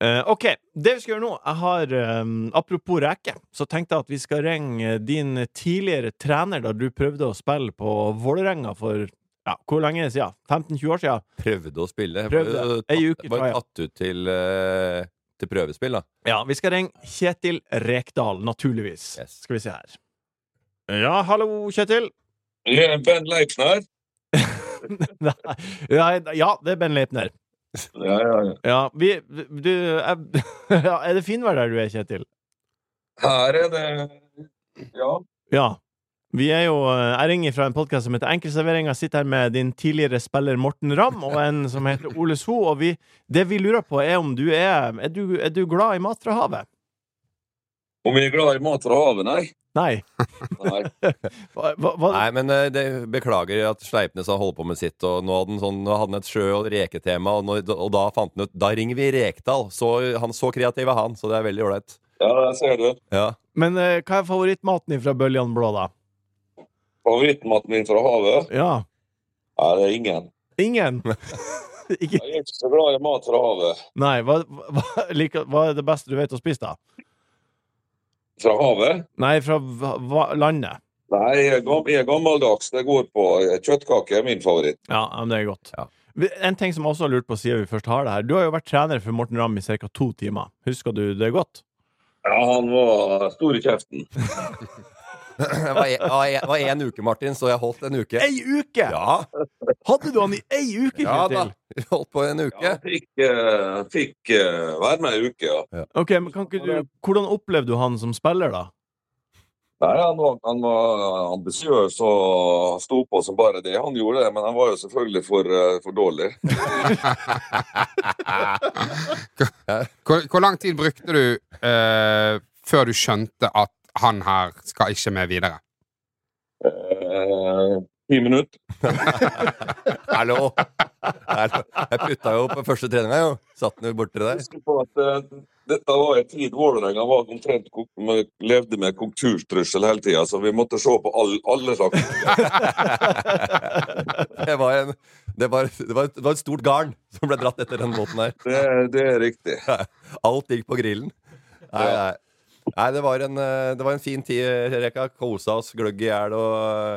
[SPEAKER 2] Eh, OK. Det vi skal gjøre nå jeg har, eh, Apropos reke, så tenkte jeg at vi skal ringe din tidligere trener da du prøvde å spille på Vålerenga for ja, hvor lenge siden? 15-20 år siden?
[SPEAKER 3] Prøvde å spille.
[SPEAKER 2] Prøvde.
[SPEAKER 3] Var
[SPEAKER 2] Ei
[SPEAKER 3] jo tatt-
[SPEAKER 2] uke, tror
[SPEAKER 3] Var
[SPEAKER 2] jeg.
[SPEAKER 3] jo tatt ut til, eh, til prøvespill, da.
[SPEAKER 2] Ja, vi skal ringe Kjetil Rekdal, naturligvis.
[SPEAKER 3] Yes.
[SPEAKER 2] Skal vi se her. Ja, hallo, Kjetil.
[SPEAKER 7] Ja, Ben Leipner.
[SPEAKER 2] *laughs* Nei, ja, det er Ben Leipner.
[SPEAKER 7] Ja, ja, ja.
[SPEAKER 2] Ja, vi Du er, *laughs* ja, er det finvær der du er, Kjetil?
[SPEAKER 7] Her er det Ja.
[SPEAKER 2] Ja. Vi er jo, eh, jeg ringer fra en podkast som heter Enkeltservering. Jeg sitter her med din tidligere spiller Morten Ramm og en som heter Ole So. Og vi, det vi lurer på, er om du er Er du, er du glad i mat fra havet?
[SPEAKER 7] Om vi er glad i mat fra havet, nei?
[SPEAKER 2] Nei.
[SPEAKER 7] Nei.
[SPEAKER 2] Hva, hva, hva,
[SPEAKER 3] Nei, men eh, det, beklager at Sleipnes har holdt på med sitt, og nå hadde han, sånn, nå hadde han et sjø- og reketema, og, nå, og da fant han ut Da ringer vi Rekdal. Så, han, så kreativ er han, så det er veldig ålreit.
[SPEAKER 7] Ja, der ser du.
[SPEAKER 3] Ja.
[SPEAKER 2] men eh, hva er favorittmaten fra Bøljan Blå, da?
[SPEAKER 7] Favorittmaten min fra havet?
[SPEAKER 2] Ja.
[SPEAKER 7] Nei, det er ingen.
[SPEAKER 2] *laughs* Ingen? Ikke
[SPEAKER 7] Jeg er ikke så glad i mat fra havet.
[SPEAKER 2] Nei. Hva, hva, liker- hva er det beste du vet å spise, da?
[SPEAKER 7] Fra havet?
[SPEAKER 2] Nei, fra hva, hva- landet.
[SPEAKER 7] Nei, jeg er gam- jeg er gammeldags. Det går på kjøttkake, er min favoritt.
[SPEAKER 2] Ja, men det er godt.
[SPEAKER 3] Ja.
[SPEAKER 2] Vi- En ting som jeg også har lurt på siden vi først har det her. Du har jo vært trener for Morten Ramm i ca. to timer. Husker du det godt?
[SPEAKER 7] Ja, han var stor i kjeften.
[SPEAKER 3] Det var en- det var en- det var én uke, Martin, så jeg holdt en uke.
[SPEAKER 2] Ei uke!
[SPEAKER 3] Ja,
[SPEAKER 2] Hadde du han i ei uke,
[SPEAKER 3] ja da.
[SPEAKER 2] Kjetil?
[SPEAKER 3] Jeg Holdt på en
[SPEAKER 7] Ja,
[SPEAKER 3] uke.
[SPEAKER 7] han fikk, eh, fikk eh, være med ei uke, ja.
[SPEAKER 2] Ok, men kan ikke du, Hvordan opplevde du han som spiller, da?
[SPEAKER 7] Nei, han var, han var ambisiøs og sto på som bare det. Han gjorde det, men han var jo selvfølgelig for, eh, for dårlig.
[SPEAKER 4] Hvor, hvor lang tid brukte du eh, før du skjønte at han her skal ikke med videre?
[SPEAKER 7] Eh, Ti minutter.
[SPEAKER 3] Hallo. Hallo. Jeg putta jo på første treninga, jo. Satt den jo borti der.
[SPEAKER 7] Husk på at eh, dette var en tid Vålerenga var omtrent ko- med- levde med konkurstrussel hele tida, så vi måtte se på all, alle slags. *laughs*
[SPEAKER 3] Det var, en, det, var, det, var et, det var et stort garn som ble dratt etter den båten der.
[SPEAKER 7] Det, det er riktig.
[SPEAKER 3] Alt gikk på grillen. Nei, nei. nei det, var en, eh, det var en fin tid, Reka. Kosa oss gløgg i hjel. Og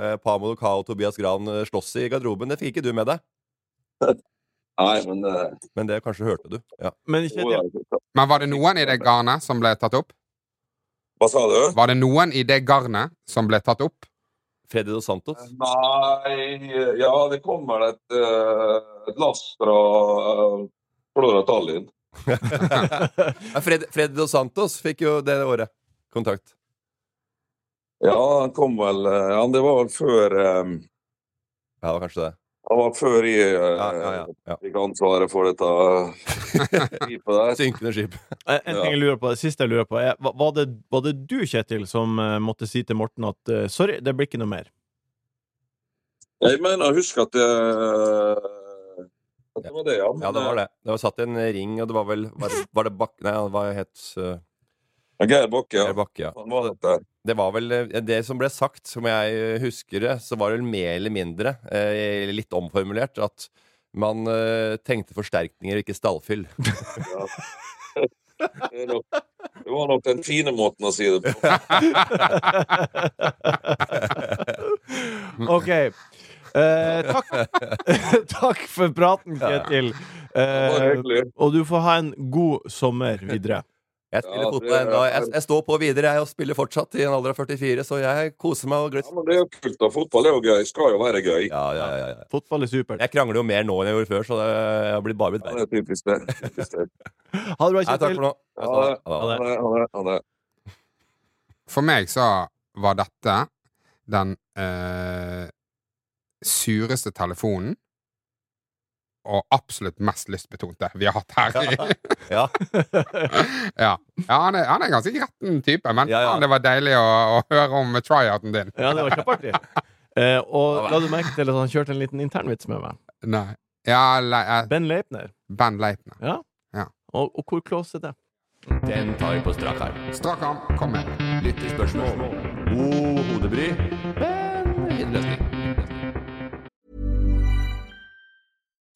[SPEAKER 3] eh, Pamo Lukao og Tobias Gran eh, slåss i garderoben. Det fikk ikke du med deg,
[SPEAKER 7] Nei, men eh,
[SPEAKER 3] men det kanskje hørte du. Ja.
[SPEAKER 2] Men
[SPEAKER 7] jo
[SPEAKER 2] Kjetil,
[SPEAKER 7] da.
[SPEAKER 4] Men var det noen i det garnet som ble tatt opp?
[SPEAKER 7] Hva sa du?
[SPEAKER 4] Var det noen i det garnet som ble tatt opp?
[SPEAKER 3] Freddy Dos Santos.
[SPEAKER 7] Nei Ja, det kommer et, eh, et lass fra uh, Flora Tallinn.
[SPEAKER 3] *laughs* Ja, Fred, Freddy Dos Santos fikk jo det året kontrakt.
[SPEAKER 7] Ja, han kom vel eh, Ja, det var vel før eh,
[SPEAKER 3] Ja, det var kanskje det.
[SPEAKER 7] Han var før jeg eh,
[SPEAKER 3] Ja, ja, ja, ja.
[SPEAKER 7] fikk ansvaret for dette eh,
[SPEAKER 3] *laughs*
[SPEAKER 7] skipet der.
[SPEAKER 3] Synkende skip.
[SPEAKER 2] *laughs* en en ting jeg lurer på, det siste jeg lurer på, er hva- var det, var det du, Kjetil, som eh, måtte si til Morten at eh, sorry, det blir ikke
[SPEAKER 3] *laughs*
[SPEAKER 2] noe mer?
[SPEAKER 7] Jeg mener, husk at det, at det var det, ja.
[SPEAKER 3] Ja, det var det. Det var satt i en ring, og det var vel Var det, var det Bak... Nei, han var het uh,
[SPEAKER 7] Men eh, Geir Bakke,
[SPEAKER 3] Per
[SPEAKER 7] ja.
[SPEAKER 3] Bakke, ja.
[SPEAKER 7] Han var
[SPEAKER 3] *laughs*
[SPEAKER 7] dette.
[SPEAKER 3] Det var vel eh, Det som ble sagt, som jeg eh, husker det, så var det vel mer eller mindre, eh, litt omformulert, at man eh, tenkte forsterkninger, ikke stallfyll.
[SPEAKER 7] Det er nok- det var nok den fine måten å si det på.
[SPEAKER 2] OK. Eh, takk. *laughs* takk for praten, Kjetil.
[SPEAKER 3] *laughs*
[SPEAKER 7] Det var
[SPEAKER 2] Eh,
[SPEAKER 7] hyggelig.
[SPEAKER 2] og du får ha en god sommer videre.
[SPEAKER 3] Jeg spiller
[SPEAKER 7] Ja,
[SPEAKER 3] fotball
[SPEAKER 7] det
[SPEAKER 3] ennå.
[SPEAKER 7] er-
[SPEAKER 3] Jeg, jeg står på videre, jeg, og spiller fortsatt i en alder av 44, så jeg koser meg og
[SPEAKER 7] Ja,
[SPEAKER 3] gløtt.
[SPEAKER 7] men det er jo kult, da. Fotball er jo gøy. Skal jo være gøy.
[SPEAKER 3] Ja, ja, ja, ja.
[SPEAKER 2] Fotball er supert.
[SPEAKER 3] Jeg krangler jo mer nå enn jeg gjorde før, så det jeg har blitt bare blitt
[SPEAKER 7] Ja,
[SPEAKER 3] verre.
[SPEAKER 7] det er typisk det. Typisk
[SPEAKER 3] *laughs*
[SPEAKER 7] det.
[SPEAKER 2] Ha det bra,
[SPEAKER 3] Nei, takk
[SPEAKER 2] Kjetil.
[SPEAKER 3] for nå.
[SPEAKER 7] Ha det.
[SPEAKER 3] Ha det.
[SPEAKER 7] Ha det, ha det, ha det.
[SPEAKER 4] For meg så var dette den eh, sureste telefonen og absolutt mest lystbetonte vi har hatt her. i-
[SPEAKER 3] Ja,
[SPEAKER 4] *laughs* ja, ja han, er, han er ganske gretten type, men
[SPEAKER 3] Ja, ja.
[SPEAKER 4] faen, det var deilig å, å høre om tryouten din.
[SPEAKER 2] Ja, det var kjempeartig. Eh, og la du merke til at han kjørte en liten internvits med meg?
[SPEAKER 4] Nei. Ja, le, eh,
[SPEAKER 2] Ben Leipner.
[SPEAKER 4] Ben Leipner.
[SPEAKER 2] Ja.
[SPEAKER 4] Ja.
[SPEAKER 2] Og, og hvor close er det?
[SPEAKER 5] Den tar vi på strak arm.
[SPEAKER 4] Strak arm. Kom med.
[SPEAKER 5] Lyttespørsmål. God hodebry, men ingen løsning.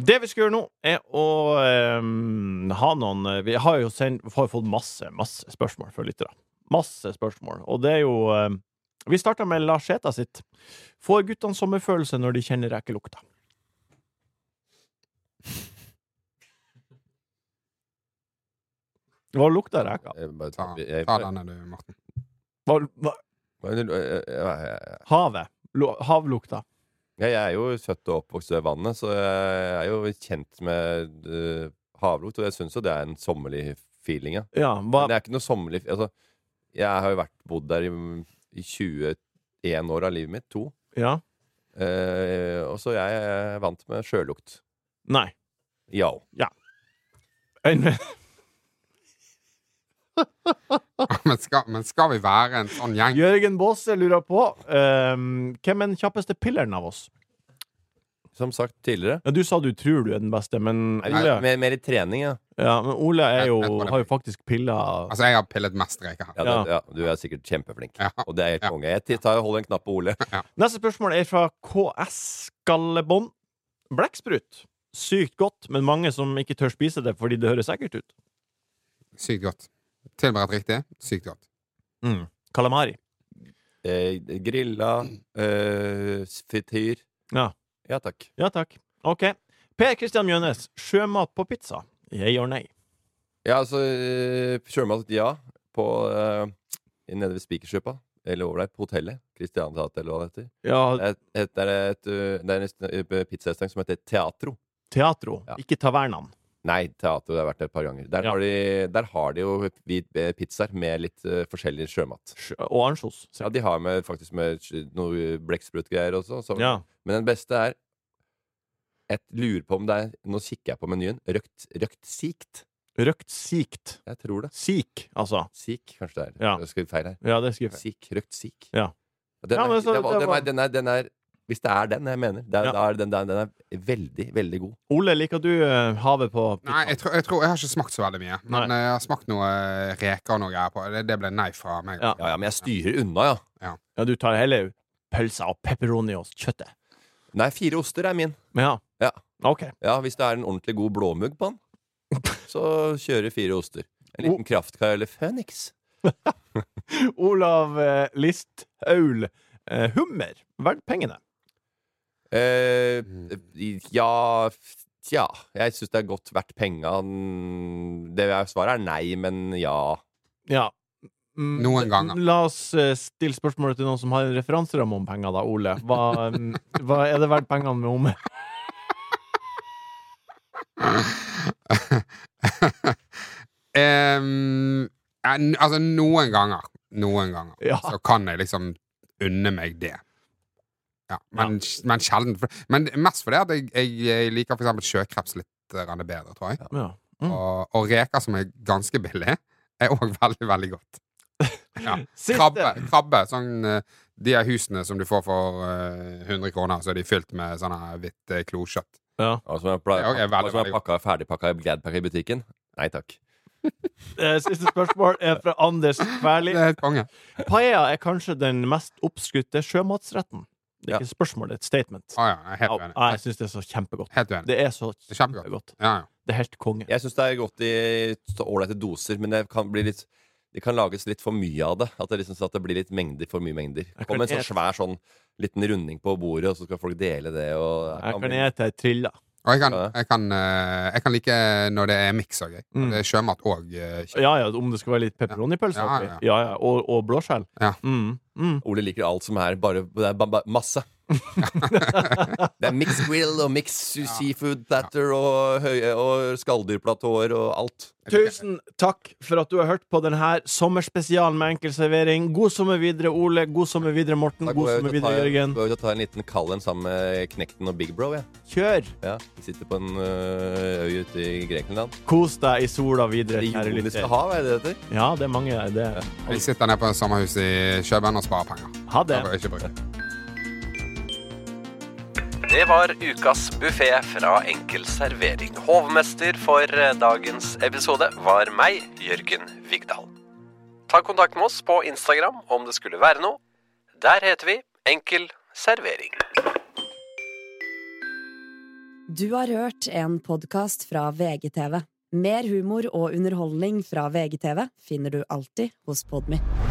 [SPEAKER 2] Det vi skal gjøre nå, er å ehm, ha noen Vi har jo sendt, har jo fått masse, masse spørsmål fra lyttere. Masse spørsmål. Og det er jo ehm, Vi starta med Larseta sitt. Får guttene sommerfølelse når de kjenner rekelukta? Hva lukta reka?
[SPEAKER 3] Jeg bare-
[SPEAKER 4] Ta,
[SPEAKER 3] jeg-
[SPEAKER 4] ta denne, du, Morten. *laughs*
[SPEAKER 2] Hva, hva,
[SPEAKER 3] Jeg jeg-
[SPEAKER 2] havet? Lo, havlukta?
[SPEAKER 3] jeg er jo født og oppvokst ved vannet, så jeg er jo kjent med eh, havlukt. Og jeg syns jo det er en sommerlig feeling, ja.
[SPEAKER 2] Ja, hva,
[SPEAKER 3] Men det er ikke noe sommerlig altså, Jeg har jo vært, bodd der i, i 21 år av livet mitt. To.
[SPEAKER 2] ja.
[SPEAKER 3] Eh, og så jeg er vant med sjølukt.
[SPEAKER 2] Nei.
[SPEAKER 3] Ja.
[SPEAKER 2] Øyne
[SPEAKER 4] Men skal, men skal vi være en sånn gjeng?
[SPEAKER 2] *laughs* Jørgen Baase lurer på ehm, hvem er den kjappeste pilleren av oss?
[SPEAKER 3] Som sagt tidligere.
[SPEAKER 2] Ja, du sa du tror du er den beste, men
[SPEAKER 3] Nei,
[SPEAKER 2] Ole,
[SPEAKER 3] mer, mer i trening, ja.
[SPEAKER 2] ja, men Ole er jo,
[SPEAKER 4] Jeg- jeg tror det.
[SPEAKER 2] har jo faktisk piller
[SPEAKER 4] Altså, jeg har pillet mest reker her.
[SPEAKER 3] Ja, det, ja. Du er sikkert kjempeflink.
[SPEAKER 4] Ja.
[SPEAKER 3] Og det er helt konge. Jeg t- tar og holder en knapp på Ole.
[SPEAKER 2] Neste spørsmål er fra KS Skallebånd. Blekksprut. Sykt godt, men mange som ikke tør spise det fordi det høres ekkelt ut.
[SPEAKER 4] Sykt godt. Tilberedt riktig. Sykt godt.
[SPEAKER 2] Mm. Kalamari.
[SPEAKER 3] Eh, grilla. Eh, frityr.
[SPEAKER 2] Ja.
[SPEAKER 3] Ja takk.
[SPEAKER 2] Ja takk. OK. Per Christian Mjønes. Sjømat på pizza. Jeg gjør nei.
[SPEAKER 3] Ja, altså eh, Sjømat, ja. På, eh, nede ved Spikersjøpa. Eller over der. På hotellet. Christiansat, eller hva det heter.
[SPEAKER 2] Ja,
[SPEAKER 3] Det er, et, det er, et, eh, det er en rest- eh, pizzarestaurant som heter Teatro.
[SPEAKER 2] teatro.
[SPEAKER 3] Ja.
[SPEAKER 2] Ikke tavernaen.
[SPEAKER 3] Nei, Teatro. Det har jeg vært der et par ganger. Der,
[SPEAKER 2] Ja.
[SPEAKER 3] har, de, der har de jo hvit eh, pizzaer med litt eh, forskjellig sjømat.
[SPEAKER 2] Sjø- Og ansjos.
[SPEAKER 3] Ja, de har med, faktisk med sj- noe blekksprutgreier også. Så.
[SPEAKER 2] Ja.
[SPEAKER 3] Men den beste er Jeg lurer på om det er Nå kikker jeg på menyen. Røkt, røkt sikt.
[SPEAKER 2] Røkt sikt.
[SPEAKER 3] Jeg tror det.
[SPEAKER 2] Sik, altså.
[SPEAKER 3] Sik, kanskje det er.
[SPEAKER 2] Ja.
[SPEAKER 3] Jeg skrev feil her.
[SPEAKER 2] Ja, det skriver jeg.
[SPEAKER 3] Sik. Røkt sik.
[SPEAKER 2] Ja.
[SPEAKER 3] Den
[SPEAKER 2] Ja,
[SPEAKER 3] er,
[SPEAKER 2] men så-
[SPEAKER 3] den var-
[SPEAKER 2] det
[SPEAKER 3] den
[SPEAKER 2] var-
[SPEAKER 3] er, den er, den er Hvis det er den jeg mener, det er,
[SPEAKER 2] Ja.
[SPEAKER 3] da er den, den, den er veldig, veldig god.
[SPEAKER 2] Ole, liker du eh, havet på pizza?
[SPEAKER 4] Nei, jeg tror, jeg tror Jeg har ikke smakt så veldig mye. Men
[SPEAKER 2] Nei.
[SPEAKER 4] eh, jeg har smakt noe eh, reker og noe greier på. Det, det ble nei fra meg.
[SPEAKER 2] Ja.
[SPEAKER 3] Ja, ja, men jeg styrer unna, ja.
[SPEAKER 2] Ja, du tar heller pølser og pepperoni og kjøttet.
[SPEAKER 3] Nei, fire oster er min.
[SPEAKER 2] Men ja.
[SPEAKER 3] Ja.
[SPEAKER 2] Ok.
[SPEAKER 3] Ja, hvis det er en ordentlig god blåmugg
[SPEAKER 2] *laughs*
[SPEAKER 3] på den, så kjører fire oster. En
[SPEAKER 2] Oh.
[SPEAKER 3] liten kraftkar eller Phoenix.
[SPEAKER 2] Olav eh, Listhaul. Eh, hummer. Verdt pengene.
[SPEAKER 3] Eh,
[SPEAKER 2] Mm.
[SPEAKER 3] ja f- Tja. Jeg syns det er godt verdt penga. Mm, Det er- Svaret er nei, men ja.
[SPEAKER 2] Ja. Mm,
[SPEAKER 4] Noen ganger.
[SPEAKER 2] La oss eh, stille spørsmålet til noen som har en referanseramme om penger, da, Ole. Hva, mm, hva er det verdt pengene med hummer?
[SPEAKER 4] *laughs* Em, ja, n- altså, noen ganger. Noen ganger.
[SPEAKER 2] Ja.
[SPEAKER 4] Så kan jeg liksom unne meg det. Ja, men, men sjelden. for- Men mest fordi at jeg, jeg, jeg liker for eksempel sjøkreps litt eh, grann bedre, tror jeg.
[SPEAKER 2] Ja. Mm.
[SPEAKER 4] Og, og reker som er ganske billig, er òg *laughs* veldig, veldig godt. Ja.
[SPEAKER 2] Siste.
[SPEAKER 4] Krabbe. krabbe sånn, eh, de her husene som du får for eh, 100 kroner, så er de fylt med sånn her hvitt eh, klokjøtt.
[SPEAKER 3] Og som er, Altså, pla-
[SPEAKER 4] Ja, ok,
[SPEAKER 3] og
[SPEAKER 4] veldig,
[SPEAKER 3] som er
[SPEAKER 4] veldig godt.
[SPEAKER 3] pakka, ferdigpakka i Gladpack i butikken. Nei takk.
[SPEAKER 2] Eh, siste spørsmål er fra Anders Kværli.
[SPEAKER 4] Det er helt konge.
[SPEAKER 2] Paella er kanskje den mest oppskrytte sjømatsretten. Det
[SPEAKER 3] Ja.
[SPEAKER 2] er ikke et spørsmål, det er et statement.
[SPEAKER 4] Å ja, jeg er helt
[SPEAKER 2] Au,
[SPEAKER 4] uenig.
[SPEAKER 2] nei, jeg syns det er så kjempegodt.
[SPEAKER 4] Helt uenig.
[SPEAKER 2] Det er så
[SPEAKER 4] Det er kjempegodt.
[SPEAKER 2] kjempegodt.
[SPEAKER 4] Ja, ja.
[SPEAKER 2] Det er helt konge.
[SPEAKER 3] Jeg syns det er godt i så ålreite doser, men det kan bli litt det kan lages litt for mye av det. At det, liksom, så at det blir litt mengder for mye mengder.
[SPEAKER 2] Jeg
[SPEAKER 3] Kom
[SPEAKER 2] kan
[SPEAKER 3] en sånn
[SPEAKER 2] et-
[SPEAKER 3] svær sånn liten runding på bordet, og så skal folk dele det. Og,
[SPEAKER 2] Jeg kan
[SPEAKER 3] bli-
[SPEAKER 2] ete ei trille.
[SPEAKER 4] Og jeg kan,
[SPEAKER 3] Ja.
[SPEAKER 4] jeg, kan, eh, jeg kan like når det er miks og gøy.
[SPEAKER 2] Mm.
[SPEAKER 4] Det er sjømat og eh, kjøtt.
[SPEAKER 2] Ja ja, om det skal være litt pepperoni-pølse
[SPEAKER 4] Ja,
[SPEAKER 2] oppi.
[SPEAKER 4] ja,
[SPEAKER 2] Ja, ja. Og, og blåskjell.
[SPEAKER 4] Ja.
[SPEAKER 2] Mm. Mm.
[SPEAKER 3] Ole liker alt som er bare det er ba, ba,
[SPEAKER 2] *laughs*
[SPEAKER 3] masse. det er mixed grill og mixed seafood platter og, høye- og skalldyrplatåer og alt.
[SPEAKER 2] Tusen takk for at du har hørt på denne sommerspesialen med enkelservering. God sommer videre, Ole. God sommer videre, Morten.
[SPEAKER 3] Da
[SPEAKER 2] God
[SPEAKER 3] går jeg ut
[SPEAKER 2] sommer
[SPEAKER 3] og
[SPEAKER 2] videre,
[SPEAKER 3] tar-
[SPEAKER 2] Jørgen.
[SPEAKER 3] går jeg ut og tar en liten kall en sammen med Knekten og Big Bro. Ja.
[SPEAKER 2] Kjør!
[SPEAKER 3] Ja, vi sitter på en øh, øy ute i Grekenland.
[SPEAKER 2] Kos deg i sola videre,
[SPEAKER 3] Det er
[SPEAKER 2] kjære
[SPEAKER 3] jorden vi skal
[SPEAKER 2] lytter.
[SPEAKER 3] ha, hva er det det heter?
[SPEAKER 2] Ja, det er mange der. Det.
[SPEAKER 4] Vi sitter nede på sommerhuset i København og sparer penger.
[SPEAKER 2] Ha det.
[SPEAKER 4] For å ikke bruke.
[SPEAKER 8] Det var ukas buffé fra Enkel servering. Hovmester for eh, dagens episode var meg, Jørgen Vigdal. Ta kontakt med oss på Instagram om det skulle være noe. Der heter vi Enkel servering.
[SPEAKER 1] Du har hørt en podkast fra VGTV. Mer humor og underholdning fra VGTV finner du alltid hos Podmy.